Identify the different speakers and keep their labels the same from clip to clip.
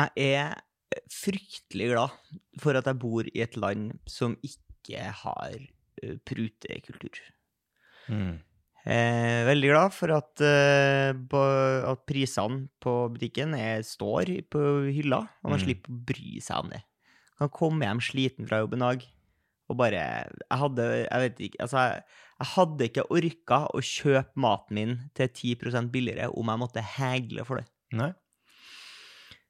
Speaker 1: Jeg er eh, fryktelig glad for at jeg bor i et land som ikke har eh, prutekultur.
Speaker 2: Mm.
Speaker 1: Eh, veldig glad for at, eh, ba- at prisene på butikken er, står i- på hylla, og man
Speaker 2: Mm.
Speaker 1: slipper å bry seg om det. Man kan komme hjem sliten fra jobb en dag, og bare Jeg hadde, jeg vet ikke, altså, jeg, jeg hadde ikke orka å kjøpe maten min til 10 billigere om jeg måtte hegle for det.
Speaker 2: Nei.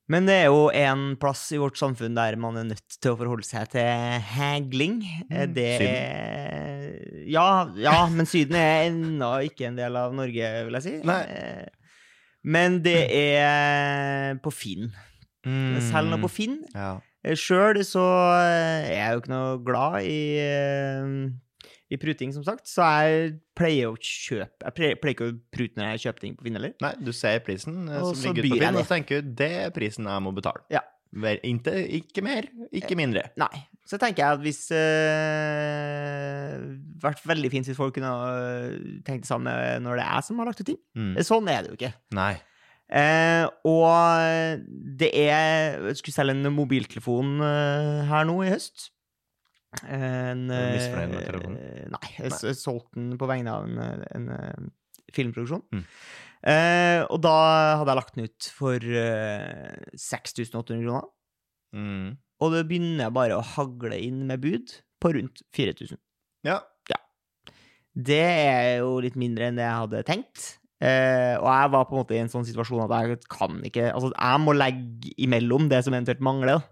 Speaker 1: Men det er jo en plass i vårt samfunn der man er nødt til å forholde seg til hegling. Eh,
Speaker 2: Mm,
Speaker 1: Det er ja, ja, men Syden er ennå ikke en del av Norge, vil jeg si.
Speaker 2: Nei.
Speaker 1: Eh, Men det er på Finn.
Speaker 2: Mm.
Speaker 1: Selv nå på Finn.
Speaker 2: Ja.
Speaker 1: Sjøl så eh, er jeg jo ikke noe glad i eh, i pruting, som sagt, så jeg pleier å kjøpe Jeg pleier, pleier ikke å prute når jeg kjøper ting på Finn heller.
Speaker 2: Nei, du ser prisen eh,
Speaker 1: Og
Speaker 2: som
Speaker 1: så
Speaker 2: ligger ute
Speaker 1: byr
Speaker 2: på
Speaker 1: jeg
Speaker 2: bilen,
Speaker 1: det.
Speaker 2: og så tenker du det er prisen jeg må betale.
Speaker 1: Ja.
Speaker 2: Vel, Inte, ikke mer, ikke mindre.
Speaker 1: Nei. Så tenker jeg at hvis øh, vært veldig fint hvis folk kunne øh, tenkt det samme når det er jeg som har lagt ut ting.
Speaker 2: Mm.
Speaker 1: Sånn er det jo ikke.
Speaker 2: Nei.
Speaker 1: Eh, og det er Jeg skulle selge en mobiltelefon eh, her nå i høst. En,
Speaker 2: Er du misfornøyd med
Speaker 1: eh,
Speaker 2: telefonen?
Speaker 1: Nei. Jeg s- solgte den på vegne av en, eh, en eh, filmproduksjon.
Speaker 2: Mm.
Speaker 1: Eh, og da hadde jeg lagt den ut for eh, 6800 kroner.
Speaker 2: Mm.
Speaker 1: Og det begynner bare å hagle inn med bud på rundt 4000.
Speaker 2: Ja.
Speaker 1: Det er jo litt mindre enn det jeg hadde tenkt. Eh, og jeg var på en måte i en sånn situasjon at jeg kan ikke Altså, jeg må legge imellom det som eventuelt mangler,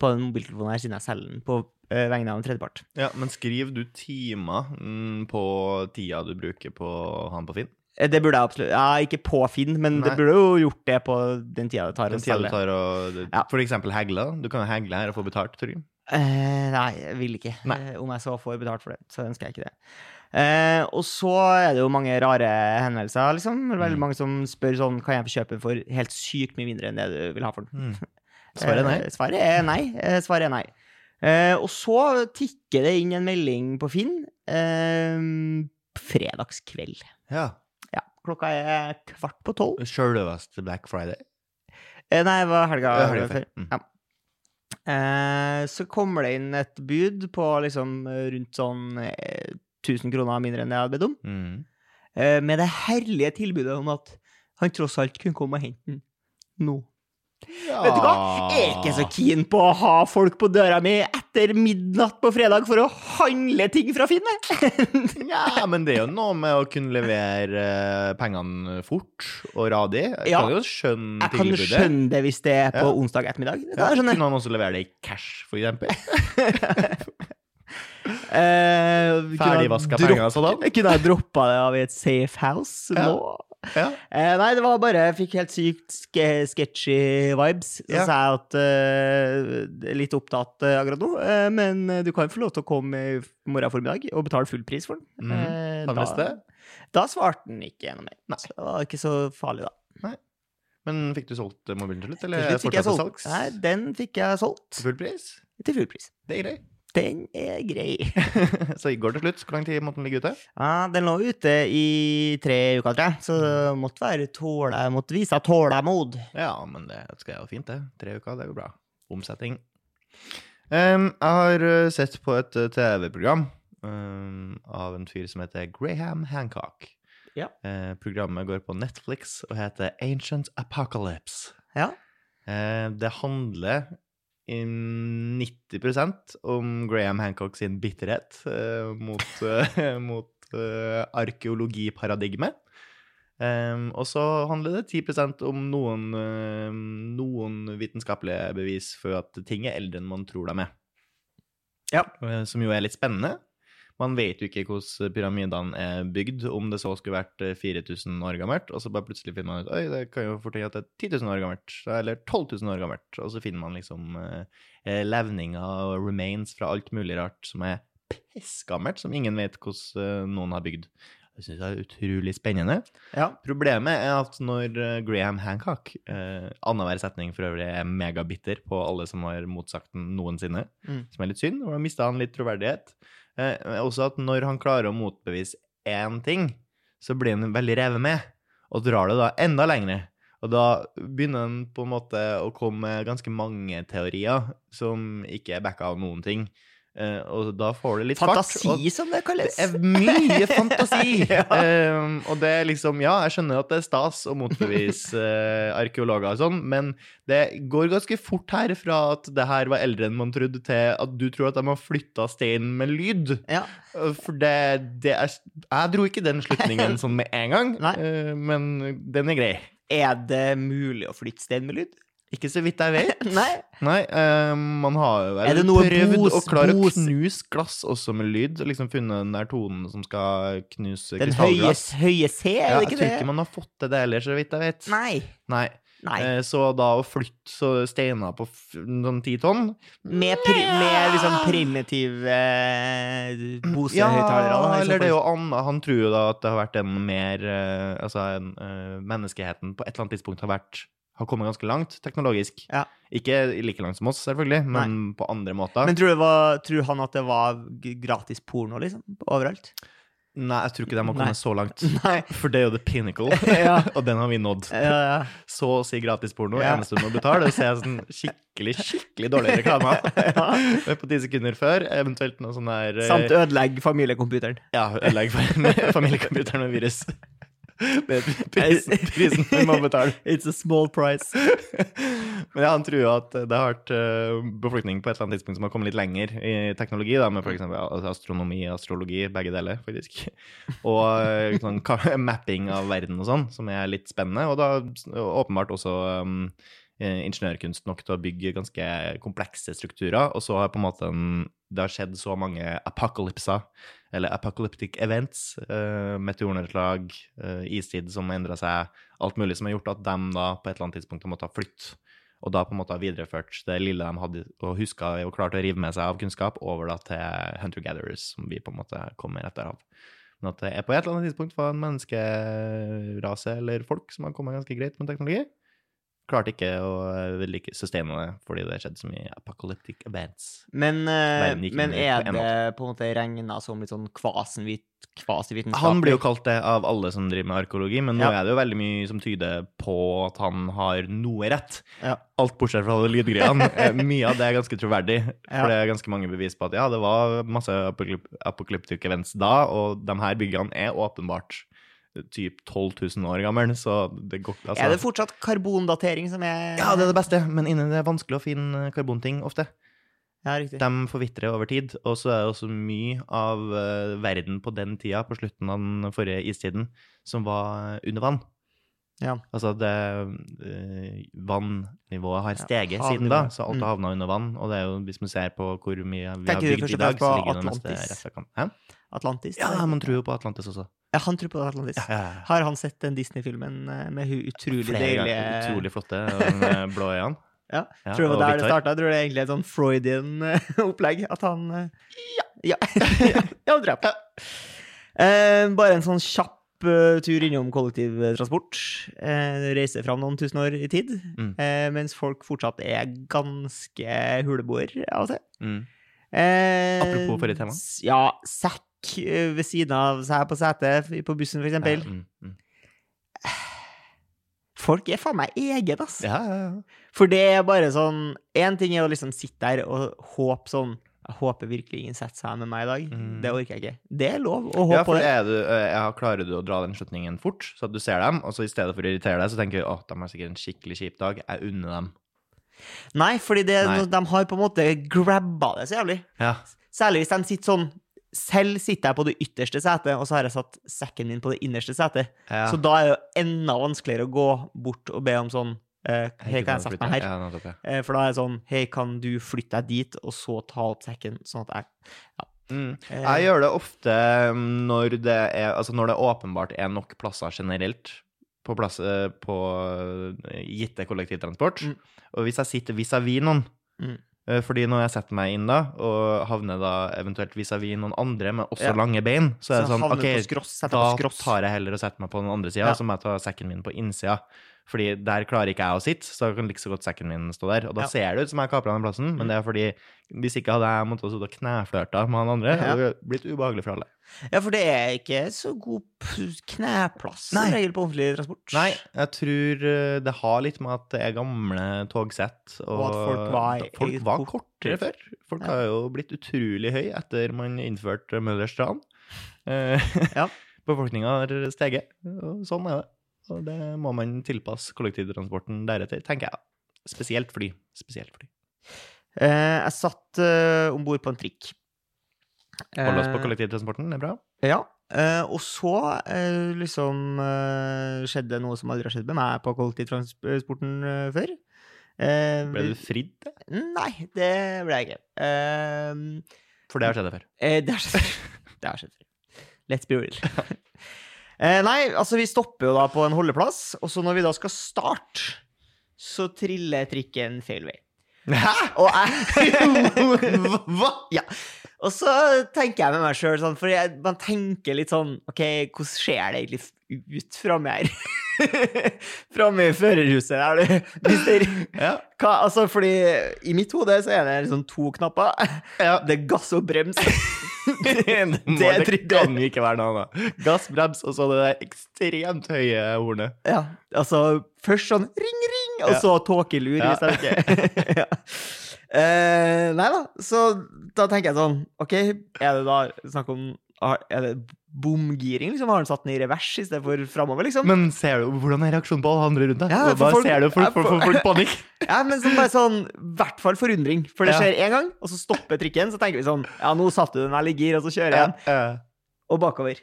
Speaker 1: på den mobiltelefonen her, siden jeg selger den på eh, vegne av en tredjepart.
Speaker 2: ja, men skriv du timer mm, på tida du bruker på han på Finn?
Speaker 1: Eh, Det burde jeg absolutt Ja, ikke på Finn, men
Speaker 2: Nei.
Speaker 1: det burde jo gjort det på den tida det tar
Speaker 2: Den
Speaker 1: å
Speaker 2: tida du
Speaker 1: selge.
Speaker 2: tar og
Speaker 1: Ja.
Speaker 2: For eksempel hegle. Du kan jo hegle her og få betalt, tror jeg.
Speaker 1: Eh, nei, jeg vil ikke.
Speaker 2: Nei.
Speaker 1: Eh, om jeg så får betalt for det, så ønsker jeg ikke det. Eh, og så er det jo mange rare henvendelser, liksom. Det er Veldig
Speaker 2: Mm.
Speaker 1: mange som spør sånn Kan jeg få kjøpe den for helt sykt mye mindre enn det du vil ha for den?
Speaker 2: Svaret er Mm. nei.
Speaker 1: Eh, svaret er nei. Eh, svaret er nei. Eh, og så tikker det inn en melding på Finn eh, fredagskveld.
Speaker 2: Ja.
Speaker 1: Ja, klokka er kvart på tolv.
Speaker 2: Sjølveste Black Friday.
Speaker 1: Eh, nei, det var helga,
Speaker 2: Ja,
Speaker 1: helga
Speaker 2: helga
Speaker 1: før.
Speaker 2: før. Mm.
Speaker 1: Ja. Eh, så kommer det inn et bud på liksom eh, rundt sånn eh, 1000 kroner mindre enn jeg hadde bedt om,
Speaker 2: Mm.
Speaker 1: eh, med det herlige tilbudet om at han tross alt kunne komme og hente den nå. Vet du hva? Jeg er ikke så keen på å ha folk på døra mi etter midnatt på fredag for å handle ting fra Finn, jeg.
Speaker 2: Ja, men det er jo noe med å kunne levere eh, pengene fort og radig. Jeg
Speaker 1: Ja.
Speaker 2: kan jo skjønne
Speaker 1: Jeg kan
Speaker 2: tilbudet.
Speaker 1: skjønne det hvis det er på
Speaker 2: Ja.
Speaker 1: onsdag ettermiddag. Det sånn, kan
Speaker 2: Ja,
Speaker 1: jeg skjønne.
Speaker 2: kunne han også levere det i cash, for eksempel?
Speaker 1: Eh, kunne ha
Speaker 2: Ferdigvaska
Speaker 1: dropp-
Speaker 2: penger sådan?
Speaker 1: Jeg kunne ha droppa det av i et safe house
Speaker 2: Ja.
Speaker 1: nå.
Speaker 2: Ja.
Speaker 1: Eh, nei, det var bare Jeg fikk helt sykt ske sketchy vibes. Så
Speaker 2: Ja.
Speaker 1: sa jeg at eh, det er litt opptatt eh, akkurat nå, eh, men eh, du kan få lov til å komme i morgen formiddag og betale full pris for den.
Speaker 2: Mhm.
Speaker 1: Eh,
Speaker 2: Han
Speaker 1: da,
Speaker 2: visste.
Speaker 1: da svarte den ikke noe mer.
Speaker 2: Nei.
Speaker 1: Så det var ikke så farlig, da.
Speaker 2: Men fikk du solgt eh, mobilen til slutt,
Speaker 1: Til
Speaker 2: eller
Speaker 1: slutt fikk jeg
Speaker 2: fortsatte
Speaker 1: solgt.
Speaker 2: salgs?
Speaker 1: Nei, den fikk jeg solgt
Speaker 2: Til full pris?
Speaker 1: til full pris.
Speaker 2: Det er greit.
Speaker 1: Den er grei.
Speaker 2: så i går til slutt, hvor lang tid måtte den ligge ute?
Speaker 1: Ja, den lå ute i tre uker, tror jeg, så
Speaker 2: Mhm.
Speaker 1: det måtte være tåle, måtte vise tålmod.
Speaker 2: Ja, men det skal jo fint, det. Tre uker, det er jo bra. Omsetning. Ehm, jeg har eh, sett på et eh, TV-program ehm, av en fyr som heter Graham Hancock.
Speaker 1: Ja.
Speaker 2: Eh, programmet går på Netflix og heter Ancient Apocalypse.
Speaker 1: Ja.
Speaker 2: Eh, det handler i 90 om Graham Hancock sin bitterhet eh, mot, eh, mot eh, arkeologiparadigmet. Ehm, og så handler det 10 om noen, ehm, noen vitenskapelige bevis for at ting er eldre enn man tror de er.
Speaker 1: Ja.
Speaker 2: Eh, Som jo er litt spennende. Man vet jo ikke hvordan pyramidene er bygd, om det så skulle vært eh, 4000 år gammelt, og så bare plutselig finner man ut Oi, det kan jo fortelle at det er 10 000 år gammelt, eller 12 000 år gammelt, og så finner man liksom eh, eh, levninger og remains fra alt mulig rart som er pissgammelt, som ingen vet hvordan eh, noen har bygd. Jeg syns det er utrolig spennende.
Speaker 1: Ja.
Speaker 2: Problemet er at når eh, Graham Hancock eh, Annenhver setning for øvrig er megabitter på alle som har motsagt den noensinne,
Speaker 1: Mm.
Speaker 2: som er litt synd, og da mista han litt troverdighet. Eh, men også at når han klarer å motbevise én ting, så blir han veldig revet med, og drar det da enda lengre. Og da begynner en på en måte å komme med ganske mange teorier som ikke er backa av noen ting. Eh, og da får det litt fart. og-
Speaker 1: Fantasi, som det
Speaker 2: det
Speaker 1: kalles.
Speaker 2: er mye fantasi!
Speaker 1: Ja.
Speaker 2: Ehm, og det er liksom Ja, jeg skjønner at det er stas å motbevise eh, arkeologer og sånn, men det går ganske fort her fra at det her var eldre enn man trodde, til at du tror at de har flytta steinen med lyd.
Speaker 1: Ja.
Speaker 2: Eh, For det, det er Jeg dro ikke den slutningen sånn med en gang,
Speaker 1: Nei.
Speaker 2: eh, men den er grei.
Speaker 1: Er det mulig å flytte stein med lyd?
Speaker 2: Ikke så vidt jeg vet.
Speaker 1: Nei.
Speaker 2: Nei, eh, man har jo
Speaker 1: Er
Speaker 2: vel
Speaker 1: det noe
Speaker 2: prøvd å
Speaker 1: Bose-
Speaker 2: klare
Speaker 1: Bose-
Speaker 2: å knuse glass også med lyd. og Liksom funnet den der tonen som skal knuse
Speaker 1: Den høye,
Speaker 2: krystallglass.
Speaker 1: høye C,
Speaker 2: Ja,
Speaker 1: er det
Speaker 2: jeg
Speaker 1: ikke
Speaker 2: tror
Speaker 1: det?
Speaker 2: ikke man har fått til det heller, så vidt jeg vet.
Speaker 1: Nei.
Speaker 2: Nei.
Speaker 1: Nei.
Speaker 2: Eh, Så da å flytte så steiner på f- noen ti tonn
Speaker 1: Med, pri med liksom primitive eh, Bose-høyttalere. da,
Speaker 2: Ja,
Speaker 1: i så
Speaker 2: eller det
Speaker 1: fall.
Speaker 2: er jo annet. Han tror jo da at det har vært en mer eh, Altså, en, eh, menneskeheten på et eller annet tidspunkt har vært har kommet ganske langt teknologisk.
Speaker 1: Ja.
Speaker 2: Ikke like langt som oss, selvfølgelig, men på andre måter.
Speaker 1: Men tror, du det var, tror han at det var g- gratis porno, liksom? Overalt?
Speaker 2: Nei, jeg tror ikke de har
Speaker 1: Nei.
Speaker 2: kommet så langt.
Speaker 1: Nei.
Speaker 2: For det er jo the pinnacle,
Speaker 1: Ja.
Speaker 2: og den har vi nådd.
Speaker 1: Ja, ja.
Speaker 2: så å si gratis porno.
Speaker 1: Ja.
Speaker 2: Eneste du må betale, er å se sånn skikkelig skikkelig dårlig reklame. Det er På ti sekunder før, eventuelt noe sånn der eh,
Speaker 1: Samt ødelegge familiekomputeren.
Speaker 2: Ja, ødelegg for- familiekomputeren med virus. Det er prisen, prisen vi må betale.
Speaker 1: It's a small price.
Speaker 2: Men ja, han tror jo at det har vært eh, befolkning på et eller annet tidspunkt som har kommet litt lenger i teknologi, da, med f.eks. altså astronomi og astrologi, begge deler, faktisk. Og eh, sånn ka- mapping av verden og sånn, som er litt spennende. Og da s- åpenbart også um, eh, ingeniørkunst nok til å bygge ganske komplekse strukturer. Og så har på en måte en, det har skjedd så mange apokalypser, eller apocalyptic events, eh, meteornedslag, eh, istid som har endra seg, alt mulig som har gjort at de da på et eller annet tidspunkt har måttet flytte. Og da på en måte har videreført det lille de hadde og huska og klarte å rive med seg av kunnskap, over da til Hunter Gatherers, som vi på en måte kommer etter av. Men at det er på et eller annet tidspunkt var en menneskerase eller folk som har kommet ganske greit med teknologi. Klarte ikke å eh, vedlike sustainene fordi det skjedde så mye apocalyptic events.
Speaker 1: Men, eh,
Speaker 2: Verden gikk
Speaker 1: men
Speaker 2: under
Speaker 1: er
Speaker 2: på en
Speaker 1: det på en måte regna som litt sånn kvasivit, kvasivitenskapelig?
Speaker 2: Han blir jo kalt det av alle som driver med arkeologi, men nå
Speaker 1: Ja.
Speaker 2: er det jo veldig mye som tyder på at han har noe rett.
Speaker 1: Ja.
Speaker 2: Alt bortsett fra alle lydgreiene. Eh, Mye av det er ganske troverdig,
Speaker 1: Ja.
Speaker 2: for det er ganske mange bevis på at ja, det var masse apokalyp apokalyptic events da, og de her byggene er åpenbart eh, typ 12 000 år gamle, så det går ikke
Speaker 1: Er det fortsatt karbondatering som er
Speaker 2: Altså- ja, det er det beste, men inni det er vanskelig å finne karbonting ofte.
Speaker 1: Ja, riktig.
Speaker 2: De forvitrer over tid, og så er det også mye av eh, verden på den tida, på slutten av den forrige istiden, som var under vann.
Speaker 1: Ja.
Speaker 2: Altså det eh, Vannnivået har steget
Speaker 1: havnivået.
Speaker 2: siden da, så alt
Speaker 1: Mm.
Speaker 2: har havna under vann. Og det er jo, hvis man ser på hvor mye vi
Speaker 1: Tenker
Speaker 2: har
Speaker 1: du
Speaker 2: bygd
Speaker 1: først
Speaker 2: i
Speaker 1: og
Speaker 2: dag,
Speaker 1: fremst
Speaker 2: så
Speaker 1: på
Speaker 2: ligger det meste
Speaker 1: Atlantis?
Speaker 2: restakant. Hæ?
Speaker 1: Atlantis?
Speaker 2: Ja, man tror jo på Atlantis også.
Speaker 1: Ja, han tror på Atlantis.
Speaker 2: Ja, ja, ja.
Speaker 1: Har han sett den Disney-filmen eh, med hun utrolig
Speaker 2: Flere
Speaker 1: deilige
Speaker 2: ganger. Utrolig flotte, og den eh, blå øynene.
Speaker 1: Ja,
Speaker 2: Ja,
Speaker 1: Tror du det
Speaker 2: og
Speaker 1: var der det
Speaker 2: hvitt hår.
Speaker 1: starta? Tror du det er egentlig et sånn Freudian eh, opplegg? At han eh, Ja. Ja, han tror jeg på. Eh, bare en sånn kjapp eh, tur innom kollektivtransport. Eh, reise fram noen tusen år i tid.
Speaker 2: Mm.
Speaker 1: Eh, mens folk fortsatt er ganske huleboer av og til.
Speaker 2: Mm.
Speaker 1: Eh,
Speaker 2: Apropos forrige tema.
Speaker 1: s- Ja, sekk eh, ved siden av seg på setet f- på bussen, for eksempel.
Speaker 2: Ja, mm, mm.
Speaker 1: Folk er faen meg eget, ass.
Speaker 2: Ja, ja, ja.
Speaker 1: For det er bare sånn Én ting er å liksom sitte der og håpe sånn Jeg håper virkelig ingen setter seg med meg i dag.
Speaker 2: Mm.
Speaker 1: Det orker jeg ikke. Det er lov å håpe
Speaker 2: ja,
Speaker 1: på
Speaker 2: for
Speaker 1: det.
Speaker 2: er du, eh, ja, klarer du å dra den slutningen fort, så at du ser dem, og så i stedet for å irritere deg, så tenker du at de har sikkert en skikkelig kjip dag, jeg unner dem.
Speaker 1: Nei, fordi det, er
Speaker 2: Nei.
Speaker 1: noe- de har på en måte grabba det så jævlig.
Speaker 2: Ja.
Speaker 1: Særlig hvis de sitter sånn Selv sitter jeg på det ytterste setet, og så har jeg satt sekken min på det innerste setet.
Speaker 2: ja.
Speaker 1: Så da er det jo enda vanskeligere å gå bort og be om sånn eh, Hei, kan jeg sette meg her?
Speaker 2: Ja, nettopp, ja.
Speaker 1: Eh, For da er det sånn Hei, kan du flytte deg dit, og så ta opp sekken, sånn at jeg
Speaker 2: Mm.
Speaker 1: Eh.
Speaker 2: Jeg gjør det ofte mm, når det, er, altså når det åpenbart er nok plasser generelt på, plass, eh, på eh, gitte kollektivtransport.
Speaker 1: Mm.
Speaker 2: Og hvis jeg sitter vis-à-vis noen,
Speaker 1: Mm.
Speaker 2: eh, fordi når jeg setter meg inn da, og havner da eventuelt vis-à-vis noen andre med også
Speaker 1: Ja.
Speaker 2: lange bein, så er det sånn
Speaker 1: havner
Speaker 2: OK,
Speaker 1: på skross, setter
Speaker 2: da
Speaker 1: på skross.
Speaker 2: tar jeg heller og setter meg på den andre sida,
Speaker 1: Ja.
Speaker 2: så må jeg ta sekken min på innsida. Fordi der klarer ikke jeg å sitte, så da kan like så godt sekken min stå der. Og da
Speaker 1: Ja.
Speaker 2: ser det ut som jeg kapra den plassen, men
Speaker 1: Mm.
Speaker 2: det er fordi hvis ikke hadde jeg måttet sitte og kneflørta med han andre,
Speaker 1: Ja.
Speaker 2: hadde det blitt ubehagelig for alle.
Speaker 1: Ja, for det er ikke så god p- kneplass som
Speaker 2: Nei.
Speaker 1: regel på offentlig transport.
Speaker 2: Nei, jeg tror eh, det har litt med at det er gamle togsett, og,
Speaker 1: Og at folk var-
Speaker 2: da- folk var kortere før. Folk
Speaker 1: Ja.
Speaker 2: har jo blitt utrolig høy etter man innførte Møllers tran. Eh,
Speaker 1: Ja.
Speaker 2: Befolkninga har steget, og sånn er det. Og det må man tilpasse kollektivtransporten deretter, tenker jeg. Spesielt fly. Spesielt fly.
Speaker 1: Eh, jeg satt eh, om bord på en trikk.
Speaker 2: Hold oss på
Speaker 1: Eh,
Speaker 2: kollektivtransporten, det er bra.
Speaker 1: Ja. eh, og så eh, liksom eh, skjedde noe som aldri har skjedd med meg på kollektivtransporten eh, før. Eh,
Speaker 2: Ble du fridd? til?
Speaker 1: Nei, det ble jeg ikke. Eh,
Speaker 2: For det har skjedd deg før.
Speaker 1: Eh, det har skjedd før. Det har skjedd før. Let's be real. eh, nei, altså, vi stopper jo da på en holdeplass, og så når vi da skal starte, så triller trikken feil vei.
Speaker 2: Hæ?!
Speaker 1: Og jeg
Speaker 2: Hva?!
Speaker 1: Ja. Og så tenker jeg med meg sjøl sånn, for jeg, man tenker litt sånn OK, hvordan ser det egentlig f- ut framme her? framme i førerhuset her, du. Mister.
Speaker 2: Ja.
Speaker 1: Hva, altså, fordi i mitt hode så er det liksom to knapper. Det er gass og brems.
Speaker 2: det, må,
Speaker 1: Det
Speaker 2: det,
Speaker 1: trykket.
Speaker 2: kan jo ikke være noe annet. Gass, brems og så det der ekstremt høye hornet.
Speaker 1: Ja, altså først sånn ring, ring, og
Speaker 2: Ja.
Speaker 1: så tåkelur,
Speaker 2: Ja.
Speaker 1: hvis jeg ikke ja. Eh, Nei da, så da tenker jeg sånn, OK, er det da snakk om har- Er det bomgiring, liksom? Har han satt den i revers i stedet for framover, liksom?
Speaker 2: Men ser du hvordan er reaksjonen på alle andre rundt deg?
Speaker 1: Ja, for
Speaker 2: Og da
Speaker 1: folk-
Speaker 2: ser du
Speaker 1: ja,
Speaker 2: folk, folk,
Speaker 1: for-
Speaker 2: folk, folk panikk.
Speaker 1: Ja, men så bare sånn, i hvert fall forundring. For det
Speaker 2: Ja.
Speaker 1: skjer én gang, og så stopper trikken. Så tenker vi sånn Ja, nå satte du den vel i gir, og så kjører jeg den. og bakover.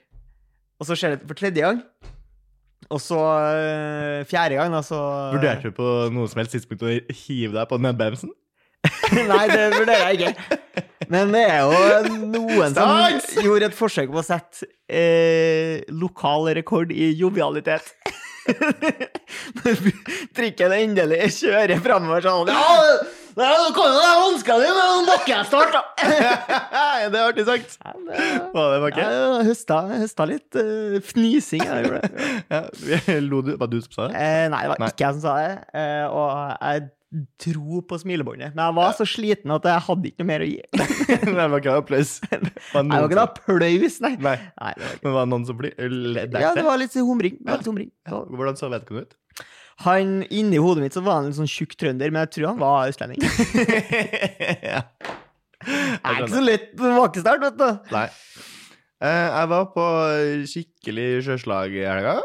Speaker 1: Og så skjer det for tredje gang. Og så eh, fjerde gang, da, så
Speaker 2: Vurderte du på noe som helst tidspunkt å hive deg på nedbremsen?
Speaker 1: Nei, det vurderer jeg ikke. Men det er jo noen som
Speaker 2: Stans!
Speaker 1: gjorde et forsøk på å sette eh, lokal rekord i jovialitet. Når Trikken endelig kjører framover sånn Ja, nå kan jo det hanska di, men nå bakker jeg snart, da.
Speaker 2: det er artig sagt.
Speaker 1: Ja, det-
Speaker 2: Var det
Speaker 1: Ja,
Speaker 2: bakke?
Speaker 1: jeg høsta, høsta litt eh, fnising. Jeg gjorde det.
Speaker 2: Ja. Lo du? Var det du som sa det?
Speaker 1: Eh, nei, det var
Speaker 2: Nei.
Speaker 1: ikke jeg som sa det. Eh, og jeg dro på smilebåndet. Men jeg var så sliten at jeg hadde ikke noe mer å gi. Nei,
Speaker 2: Nei, det var ikke applaus. Var
Speaker 1: det var
Speaker 2: noen
Speaker 1: ikke noe
Speaker 2: som-
Speaker 1: applaus, nei.
Speaker 2: Nei,
Speaker 1: nei det var ikke.
Speaker 2: men var det noen som blir ledd
Speaker 1: Ja, det var litt humring. Det var litt humring.
Speaker 2: Hvordan så vedkommende ut?
Speaker 1: Han, Inni hodet mitt så var han en sånn tjukk trønder, men jeg tror han var østlending. Det
Speaker 2: ja.
Speaker 1: er ikke så lett på bakestart, vet du.
Speaker 2: Nei. Eh, jeg var på skikkelig sjøslag i helga.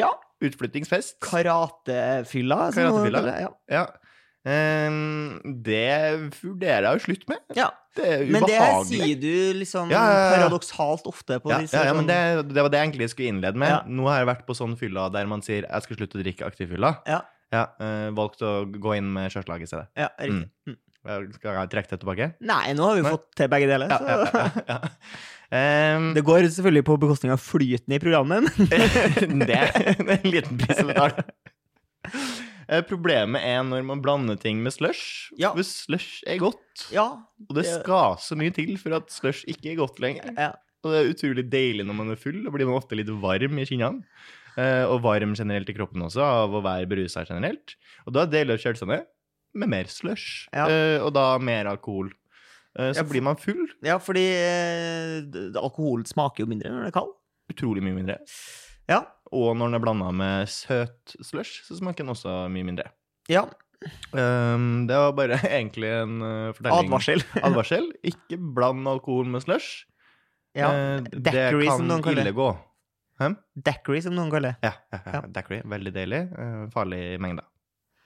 Speaker 1: Ja.
Speaker 2: Utflyttingsfest.
Speaker 1: Karatefylla. som noen
Speaker 2: Karatefylla.
Speaker 1: kaller det, Ja.
Speaker 2: ja. Eh, det vurderer jeg å slutte med.
Speaker 1: Ja.
Speaker 2: Det er
Speaker 1: Men det her
Speaker 2: ubehagelig.
Speaker 1: sier du liksom
Speaker 2: Ja, ja, ja.
Speaker 1: paradoksalt ofte på
Speaker 2: ja,
Speaker 1: disse
Speaker 2: ja, ja, men det,
Speaker 1: sånn-
Speaker 2: det var det jeg egentlig skulle innlede med.
Speaker 1: Ja.
Speaker 2: Nå har jeg vært på sånn fylla der man sier 'jeg skal slutte å drikke aktivfylla'.
Speaker 1: Ja.
Speaker 2: Ja, eh, valgt å gå inn med sjøslag i stedet.
Speaker 1: ja, riktig. Mm.
Speaker 2: Jeg- Skal jeg trekke det tilbake?
Speaker 1: Nei, nå har vi
Speaker 2: Nei.
Speaker 1: fått til begge deler.
Speaker 2: Ja,
Speaker 1: så-
Speaker 2: ja, ja, ja. Eh,
Speaker 1: Det går selvfølgelig på bekostning av flyten i programmet, men
Speaker 2: det er en liten pissedetalj. Eh, Problemet er når man blander ting med slush.
Speaker 1: Ja.
Speaker 2: For slush er godt,
Speaker 1: ja.
Speaker 2: og det
Speaker 1: det-
Speaker 2: skal så mye til for at slush ikke er godt lenger.
Speaker 1: Ja.
Speaker 2: Og det er utrolig deilig når man er full, og blir man ofte litt varm i kinnene. Eh, Og varm generelt i kroppen også, av å være berusa generelt. Og da er det deilig å kjøle seg ned med mer slush,
Speaker 1: Ja.
Speaker 2: eh, og da mer alkohol. Eh,
Speaker 1: Ja,
Speaker 2: Så
Speaker 1: for-
Speaker 2: blir man full
Speaker 1: ja, fordi eh, d- alkohol smaker jo mindre når det er kald.
Speaker 2: utrolig mye mindre.
Speaker 1: Ja.
Speaker 2: Og når den er blanda med søt slush, så smaker den også mye mindre.
Speaker 1: ja.
Speaker 2: Ehm, det var bare egentlig en eh, fortelling.
Speaker 1: Advarsel.
Speaker 2: Advarsel. Ikke bland alkohol med slush.
Speaker 1: Ja.
Speaker 2: Eh,
Speaker 1: daiquiri, som
Speaker 2: det
Speaker 1: noen
Speaker 2: kan
Speaker 1: kaller det.
Speaker 2: ille gå.
Speaker 1: Daiquiri, som noen kaller det.
Speaker 2: Ja, ja, ja.
Speaker 1: Ja.
Speaker 2: Daiquiri. Veldig deilig. Eh, farlig mengde.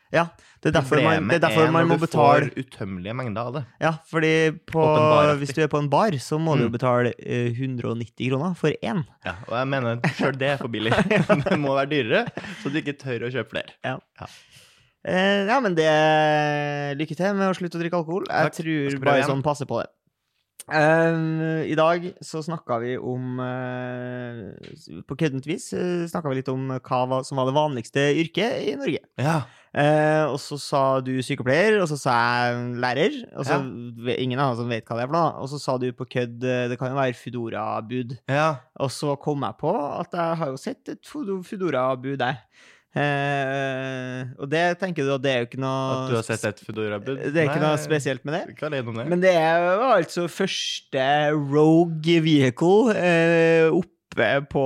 Speaker 1: Det er derfor man, det er derfor man må
Speaker 2: når
Speaker 1: betale
Speaker 2: du får utømmelige mengder av det.
Speaker 1: Ja, fordi på,
Speaker 2: Åpenbaraktig.
Speaker 1: hvis du er på en bar, så må du
Speaker 2: Mm.
Speaker 1: jo betale eh, 190 kroner for én.
Speaker 2: Ja, og jeg mener sjøl det er for billig. det må være dyrere, så du ikke tør å kjøpe flere.
Speaker 1: Eh, ja, men det Lykke til med å slutte å drikke alkohol. Jeg
Speaker 2: Takk. Jeg
Speaker 1: tror
Speaker 2: skal prøve
Speaker 1: bare
Speaker 2: igjen.
Speaker 1: sånn passe på det. Eh, I dag så snakka vi om eh, På køddent vis uh, snakka vi litt om hva var- som var det vanligste yrket i Norge.
Speaker 2: Ja.
Speaker 1: Eh, og så sa du sykepleier, og så sa jeg lærer. Og så ve- Ingen av oss som vet hva det er for noe. Og så sa du på kødd eh, det kan jo være Foodora-bud.
Speaker 2: ja.
Speaker 1: Og så kom jeg på at jeg har jo sett et Foodora-bud der. Eh, og det tenker du at det er jo ikke noe
Speaker 2: At du har sett et Foodora-bud?
Speaker 1: Det er ikke noe spesielt med det.
Speaker 2: Ikke alene om det.
Speaker 1: Men det er jo altså første Rogue Vehicle eh, oppe på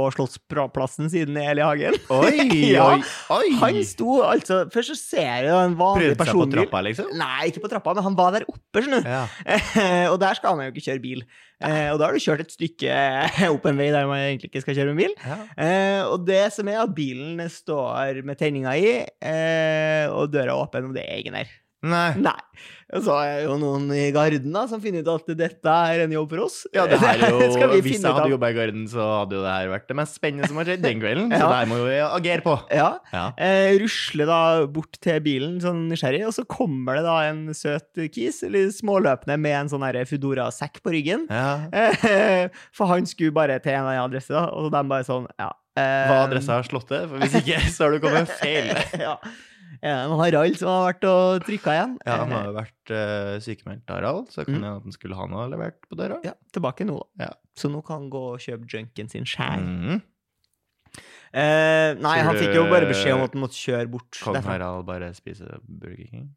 Speaker 1: Slottsplassen siden Eli Hagen.
Speaker 2: oi,
Speaker 1: Ja,
Speaker 2: oi, oi!
Speaker 1: Han sto altså Først så ser jeg jo en vanlig
Speaker 2: prøvde seg på
Speaker 1: personbil.
Speaker 2: trappa, liksom?
Speaker 1: Nei, ikke på trappa, men han var der oppe, skjønner du.
Speaker 2: Ja.
Speaker 1: og der skal man jo ikke kjøre bil. Eh, og da har du kjørt et stykke opp en vei der man egentlig ikke skal kjøre med bil.
Speaker 2: ja.
Speaker 1: Eh, og det som er at bilen står med tenninga i, eh, og døra er åpen, og det er ingen her.
Speaker 2: Nei.
Speaker 1: Nei. Og så er jo noen i garden da, som finner ut at dette er en jobb for oss.
Speaker 2: Ja, det her er jo,
Speaker 1: skal vi
Speaker 2: Hvis jeg
Speaker 1: finne ut
Speaker 2: hadde
Speaker 1: av.
Speaker 2: jobba i Garden, så hadde jo det her vært det mest spennende som har skjedd den kvelden. Så
Speaker 1: Ja.
Speaker 2: det her må vi agere på.
Speaker 1: Ja.
Speaker 2: Ja.
Speaker 1: Eh, rusler da bort til bilen, sånn nysgjerrig, og så kommer det da en søt kis, eller småløpende, med en sånn her Foodora-sekk på ryggen.
Speaker 2: ja.
Speaker 1: Eh, for han skulle bare til en eller annen adresse, da, og de bare sånn, ja. eh,
Speaker 2: Hva adressa har slått det? For hvis ikke, så har du kommet feil.
Speaker 1: ja. Ja, men Harald som har vært og trykka igjen.
Speaker 2: Ja, han
Speaker 1: Eh,
Speaker 2: har jo vært uh, sykemeldt, Harald, så kan
Speaker 1: Mm.
Speaker 2: det hende at han skulle ha noe levert på døra.
Speaker 1: Eh, ja, tilbake nå, da.
Speaker 2: Ja.
Speaker 1: Så nå kan han gå og kjøpe junken sin sjæl.
Speaker 2: Mm.
Speaker 1: Eh, nei,
Speaker 2: Tror
Speaker 1: han
Speaker 2: du-
Speaker 1: fikk jo bare beskjed om at han måtte kjøre bort.
Speaker 2: Kan
Speaker 1: derfra.
Speaker 2: Harald bare spise Burger King?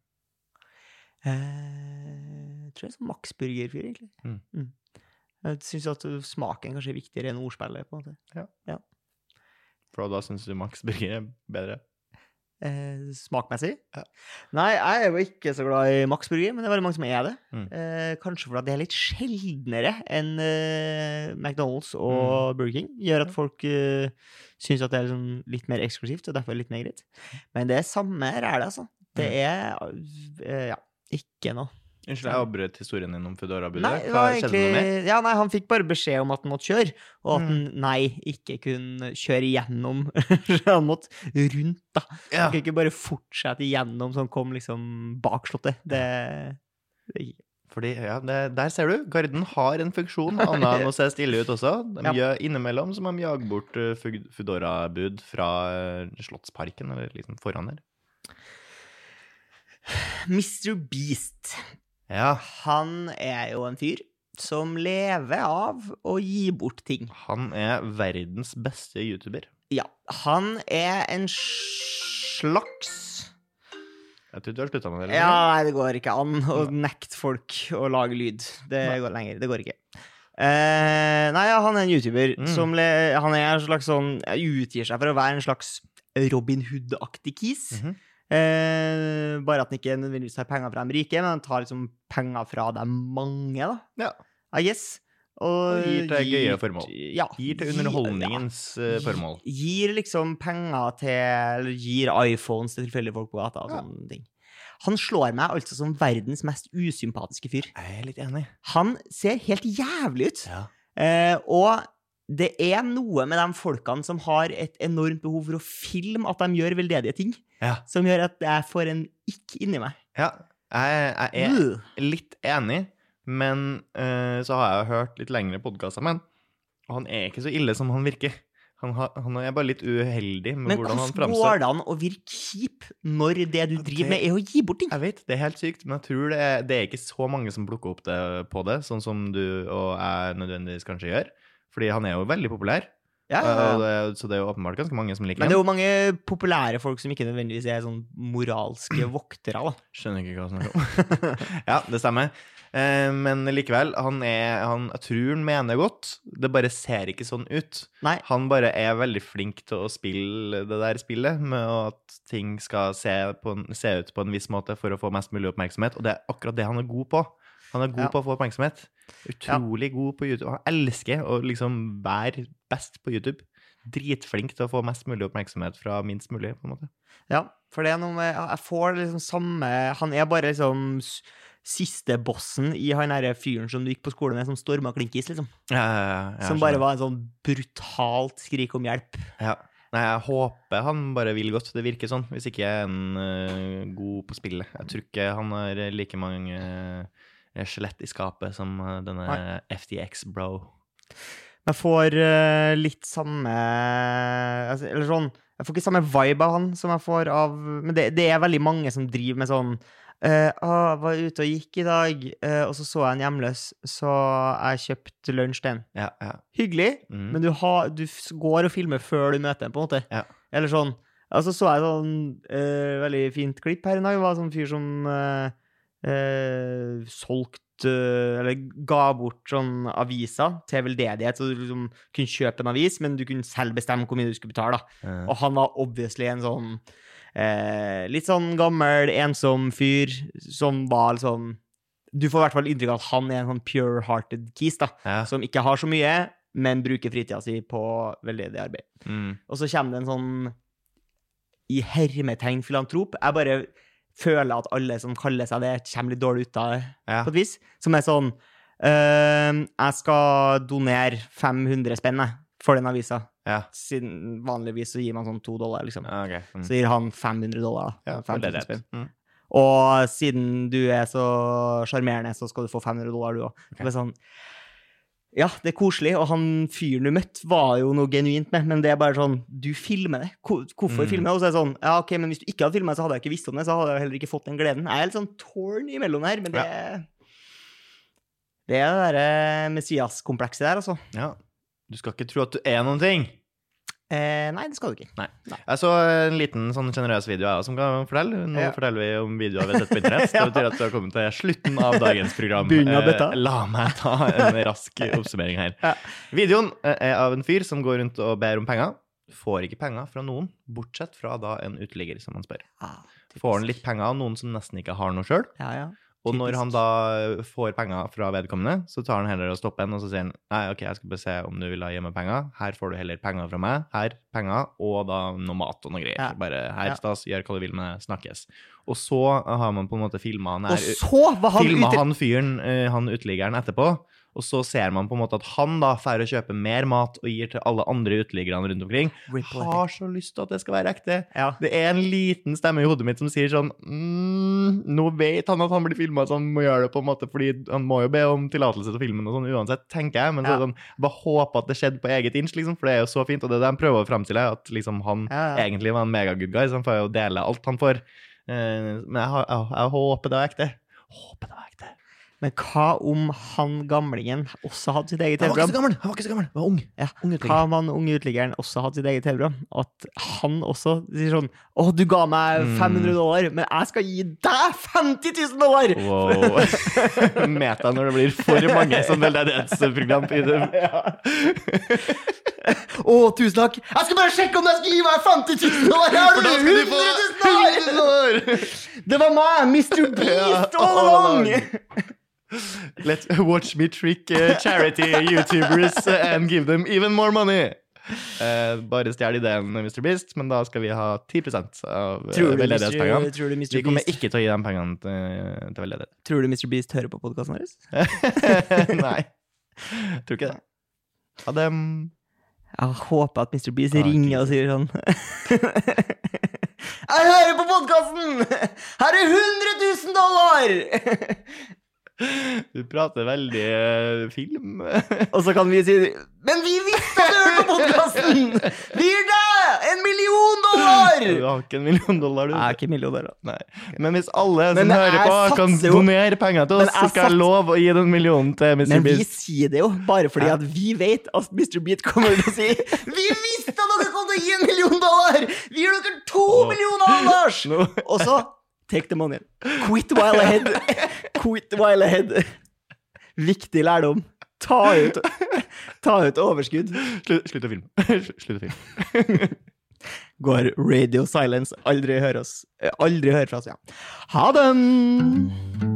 Speaker 1: Eh, tror jeg er sånn maksburgerfyr, egentlig.
Speaker 2: Mm.
Speaker 1: Mm. Jeg syns at smaken kanskje er viktigere enn ordspillet, på en måte.
Speaker 2: For da syns du Max Burger er bedre?
Speaker 1: Eh, smakmessig.
Speaker 2: Ja.
Speaker 1: Nei, jeg er jo ikke så glad i maksburger, men det er veldig mange som er det.
Speaker 2: Mm.
Speaker 1: Eh, kanskje fordi det er litt sjeldnere enn eh, McDonald's og
Speaker 2: Mm.
Speaker 1: Burger King. Gjør at folk eh, syns at det er liksom litt mer eksklusivt, og derfor litt mer greit.
Speaker 2: Mm.
Speaker 1: Men det er samme ræle, altså. Det er eh, ja, ikke noe.
Speaker 2: Unnskyld, jeg avbrøt historien din om Foodora-budet.
Speaker 1: Nei, det
Speaker 2: Hva
Speaker 1: var
Speaker 2: skjedde noe Mm. mer?
Speaker 1: egentlig, ja, nei, han fikk bare beskjed om at han måtte kjøre, og at han nei, ikke kunne kjøre gjennom. han måtte rundt, da.
Speaker 2: Ja.
Speaker 1: Han kunne ikke bare fortsette gjennom, så han kom liksom bak slottet. Det, det
Speaker 2: Fordi, ja, det, der ser du, garden har en funksjon, annet enn å se stille ut også. De
Speaker 1: Ja.
Speaker 2: gjør, innimellom så må de jage bort eh, fug- Foodora-bud fra eh, Slottsparken, eller liksom foran der.
Speaker 1: Mr. Beast,
Speaker 2: Ja,
Speaker 1: han er jo en fyr som lever av å gi bort ting.
Speaker 2: han er verdens beste YouTuber.
Speaker 1: Ja, han er en slags
Speaker 2: Jeg tror du har slutta med det. eller?
Speaker 1: Ja, nei, det går ikke an å nekte folk å lage lyd. Det
Speaker 2: Nei.
Speaker 1: går lenger. Det går ikke. Eh, nei, ja, han er en YouTuber
Speaker 2: Mm.
Speaker 1: som le, han er en slags sånn utgir seg for å være en slags Robin Hood-aktig kis.
Speaker 2: Mhm.
Speaker 1: Eh, bare at han ikke nødvendigvis tar penger fra de rike, men han tar liksom penger fra de mange, da.
Speaker 2: Ja.
Speaker 1: I guess. Og,
Speaker 2: Og gir til gøye formål.
Speaker 1: Ja,
Speaker 2: Gir til
Speaker 1: gi-
Speaker 2: underholdningens eh,
Speaker 1: Gi-
Speaker 2: formål.
Speaker 1: Gir liksom penger til Eller gir iPhones til tilfeldige folk på gata og
Speaker 2: Ja.
Speaker 1: sånne ting. Han slår meg altså som verdens mest usympatiske fyr.
Speaker 2: Jeg er litt enig.
Speaker 1: Han ser helt jævlig ut.
Speaker 2: Ja.
Speaker 1: Eh, og det er noe med de folkene som har et enormt behov for å filme at de gjør veldedige ting,
Speaker 2: Ja.
Speaker 1: som gjør at jeg får en ikk inni meg.
Speaker 2: ja. Jeg, jeg er
Speaker 1: Øh.
Speaker 2: litt enig, men eh, så har jeg hørt litt lengre podkaster med han. Og han er ikke så ille som han virker. Han, har, han er bare litt uheldig med
Speaker 1: Men
Speaker 2: hvordan
Speaker 1: hvordan
Speaker 2: han
Speaker 1: går
Speaker 2: framstår.
Speaker 1: det an å virke kjip når det du
Speaker 2: Ja, det-
Speaker 1: driver med, er å gi bort ting?
Speaker 2: Jeg vet, det er helt sykt, men jeg tror det er, det er ikke så mange som plukker opp det på det, sånn som du og jeg nødvendigvis kanskje gjør. Fordi han er jo veldig populær,
Speaker 1: Ja, ja, ja.
Speaker 2: og det, så det er jo åpenbart ganske mange som liker
Speaker 1: Men det er
Speaker 2: ham.
Speaker 1: jo mange populære folk som ikke nødvendigvis er sånn moralske voktere, da.
Speaker 2: Skjønner ikke hva han snakker om. ja, det stemmer. Eh, men likevel, han er, han, jeg tror han mener godt, det bare ser ikke sånn ut.
Speaker 1: Nei.
Speaker 2: Han bare er veldig flink til å spille det der spillet, med at ting skal se, på en, se ut på en viss måte for å få mest mulig oppmerksomhet, og det er akkurat det han er god på. Han er god
Speaker 1: Ja.
Speaker 2: på å få oppmerksomhet. Utrolig god på YouTube. Han elsker å liksom være best på YouTube. Dritflink til å få mest mulig oppmerksomhet fra minst mulig, på en måte.
Speaker 1: Ja, for det er noe med ja, Jeg får liksom samme Han er bare liksom s- siste bossen i han derre fyren som du gikk på skole med, som storma klinkis, liksom. Som bare var en sånn brutalt skrik om hjelp.
Speaker 2: Ja. Nei, jeg håper han bare vil godt. Det virker sånn. Hvis ikke er han øh, god på spillet. Jeg tror ikke han har like mange øh, skjelett i skapet som øh, denne FTX-bro.
Speaker 1: Jeg får eh, litt samme altså, Eller sånn Jeg får ikke samme vibe av han som jeg får av Men det, det er veldig mange som driver med sånn eh, ah, jeg var ute og gikk i dag, eh, og så så jeg en hjemløs, så jeg kjøpte lunsj til en.
Speaker 2: Ja, ja.
Speaker 1: Hyggelig,
Speaker 2: Mm.
Speaker 1: men du, har, du f- går og filmer før du møter en, på en måte.
Speaker 2: Ja.
Speaker 1: Eller sånn Og så så jeg sånn eh, veldig fint klipp her en dag. Det var en sånn fyr som eh, eh, solgte eh, Eller ga bort sånn aviser til veldedighet. Så du liksom kunne kjøpe en avis, men du kunne selv bestemme hvor mye du skulle betale. da.
Speaker 2: Eh,
Speaker 1: Og han var obviously en sånn eh, litt sånn gammel, ensom fyr som var liksom Du får i hvert fall inntrykk av at han er en sånn pure-hearted kis, da.
Speaker 2: ja.
Speaker 1: Som ikke har så mye, men bruker fritida si på veldedig arbeid.
Speaker 2: Mm.
Speaker 1: Og så kommer det en sånn i hermetegn filantrop. Jeg bare føler at alle som kaller seg det, kommer litt dårlig ut av det,
Speaker 2: Ja.
Speaker 1: på et vis. Som er sånn «Øhm, Jeg skal donere 500 spenn jeg, for den avisa.
Speaker 2: ja.
Speaker 1: Siden vanligvis så gir man sånn to dollar, liksom.
Speaker 2: Ja, ok. Mm.
Speaker 1: Så gir han 500 dollar. da.
Speaker 2: Ja, for det
Speaker 1: 5000
Speaker 2: er rett.
Speaker 1: spenn.
Speaker 2: Mm.
Speaker 1: Og siden du er så sjarmerende, så skal du få 500 dollar, du òg.
Speaker 2: Ok.
Speaker 1: Sånn, ja, det er koselig, og han fyren du møtte, var jo noe genuint med, men det er bare sånn Du filmer det. Ko- Hvorfor
Speaker 2: Mm.
Speaker 1: filme det? Og så er det sånn Ja, OK, men hvis du ikke hadde filma det, så hadde jeg ikke visst om det, så hadde jeg heller ikke fått den gleden. Jeg er litt sånn torn imellom det her, men det Det er det derre Messias-komplekset der, altså.
Speaker 2: ja. Du skal ikke tro at du er noen ting.
Speaker 1: Eh, nei, det skal du ikke.
Speaker 2: Jeg så en liten sånn generøs video jeg også som kan fortelle. Nå
Speaker 1: Ja.
Speaker 2: forteller vi om videoer vi har sett på internett. Det
Speaker 1: Ja.
Speaker 2: betyr at vi har kommet til slutten av dagens program.
Speaker 1: Bunnen av
Speaker 2: Eh,
Speaker 1: bøtta.
Speaker 2: La meg ta en rask oppsummering her.
Speaker 1: Ja.
Speaker 2: Videoen eh, er av en fyr som går rundt og ber om penger. Får ikke penger fra noen, bortsett fra da en uteligger som han spør. Får han litt penger av noen som nesten ikke har noe sjøl.
Speaker 1: Ja, ja.
Speaker 2: Og når
Speaker 1: Typisk.
Speaker 2: han da får penger fra vedkommende, så tar han heller og stopper en, og så sier han nei, ok, jeg skal bare se om du vil ha hjemme penger. Her får du heller penger fra meg. Her, penger, og da noe mat og noe greier.
Speaker 1: Ja.
Speaker 2: Bare her,
Speaker 1: Ja.
Speaker 2: stas, gjør hva du vil med det, snakkes. Og så har man på en måte filma han
Speaker 1: Og
Speaker 2: her.
Speaker 1: så var han
Speaker 2: Filma
Speaker 1: ute
Speaker 2: han fyren, eh, han uteliggeren, etterpå. Og så ser man på en måte at han da drar og kjøper mer mat og gir til alle andre uteliggerne rundt omkring.
Speaker 1: Ripple effect.
Speaker 2: Har så lyst til at det skal være ekte.
Speaker 1: Ja.
Speaker 2: Det er en liten stemme i hodet mitt som sier sånn mm, Nå vet han at han blir filma, så han må gjøre det på en måte fordi han må jo be om tillatelse til filmen og sånn uansett, tenker jeg. Men så er det sånn, bare håpe at det skjedde på eget inch, liksom, for det er jo så fint. Og det er det de prøver å fremstille, at liksom han
Speaker 1: Ja, ja.
Speaker 2: egentlig var en megagood guy, så han får jo dele alt han får. Eh, Men jeg, har- jeg, jeg håper det var ekte. Håper det var ekte.
Speaker 1: Men hva om han gamlingen også hadde sitt eget
Speaker 2: Han
Speaker 1: TV-program?
Speaker 2: var ikke så gammel! Han var ikke så gammel, han var ung.
Speaker 1: Ja.
Speaker 2: ung
Speaker 1: Hva
Speaker 2: utligger.
Speaker 1: om han unge uteliggeren også hadde sitt eget TV-program? At han også sier sånn Å, du ga meg
Speaker 2: Mm.
Speaker 1: 500 dollar, men jeg skal gi deg 50 000 dollar!
Speaker 2: Wow. Meta når det blir for mange som veldedighetsprogram i det
Speaker 1: Å, tusen takk! Jeg skal bare sjekke om jeg skal gi meg 50 000 dollar! Her
Speaker 2: For da
Speaker 1: har du
Speaker 2: skal
Speaker 1: 100
Speaker 2: du få
Speaker 1: 000 dollar!
Speaker 2: 100 dollar!
Speaker 1: Det var meg! Mr. Beast all
Speaker 2: all
Speaker 1: along!
Speaker 2: along. Let watch me trick eh, charity YouTubers eh, and give them even more money. Eh, bare stjel ideen, Mr. Beast, men da skal vi ha 10 av eh,
Speaker 1: Tror du, Mr.
Speaker 2: veldedighetspengene.
Speaker 1: tror du Mr.
Speaker 2: Vi kommer
Speaker 1: Beast,
Speaker 2: ikke til å gi de pengene til, til veldedighet.
Speaker 1: tror du Mr. Beast hører på podkasten vår?
Speaker 2: Nei. Tror ikke det. Ha det.
Speaker 1: Jeg håper at Mr. Beast
Speaker 2: Ja,
Speaker 1: ringer og sier sånn Jeg hører på podkasten! Her er 100 000 dollar!
Speaker 2: Du prater veldig eh, film.
Speaker 1: Og så kan vi si Men vi visste at du hørte på podkasten! Vi gir deg en million dollar!
Speaker 2: Du har ikke en million dollar, du.
Speaker 1: Jeg er ikke millionær, da.
Speaker 2: Nei. Men hvis alle som
Speaker 1: Men jeg
Speaker 2: hører på, kan
Speaker 1: satser jo-
Speaker 2: donere penger til
Speaker 1: Men
Speaker 2: oss,
Speaker 1: jeg
Speaker 2: så skal jeg
Speaker 1: sats-
Speaker 2: love å gi den millionen til Mr.
Speaker 1: Men vi
Speaker 2: Beast.
Speaker 1: sier det jo bare fordi at vi vet at Mr. Beat kommer til å si Vi visste at dere kom til å gi en million dollar! Vi gir dere to
Speaker 2: Åh.
Speaker 1: millioner, Anders!
Speaker 2: Nå,
Speaker 1: Og så take the money. Quit while ahead. Quit while ahead. Viktig lærdom. Ta ut, ta ut overskudd.
Speaker 2: slutt, slutt å filme. Slutt å filme.
Speaker 1: Går radio silence. Aldri hør oss. eh, Aldri hør fra oss, ja. Ha det!